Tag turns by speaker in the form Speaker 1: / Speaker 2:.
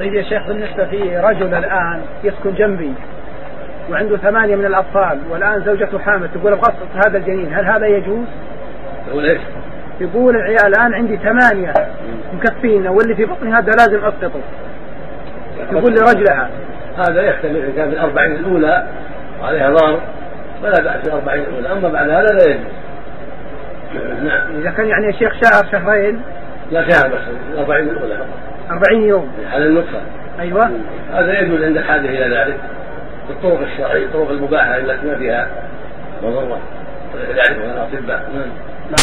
Speaker 1: طيب يا شيخ بالنسبة في رجل الآن يسكن جنبي وعنده ثمانية من الأطفال والآن زوجته حامل تقول أبغى أسقط هذا الجنين هل هذا يجوز؟
Speaker 2: يقول ايش؟
Speaker 1: يقول العيال الآن عندي ثمانية مكفين واللي في بطني هذا لازم أسقطه يقول لرجلها
Speaker 2: هذا يختلف اذا كان في الاربعين الاولى وعليها ضار فلا باس في الاربعين الاولى اما بعد هذا لا يجوز نعم
Speaker 1: إذا كان يعني يا شيخ شهر شهرين
Speaker 2: لا شهر بس الاربعين الاولى فقط
Speaker 1: أربعين يوم
Speaker 2: على النطفه
Speaker 1: أيوة
Speaker 2: هذا يجوز عند الحاجه الى ذلك بالطرق الشرعيه الطرق المباحه التي ما فيها مضره يعرفها الاطباء نعم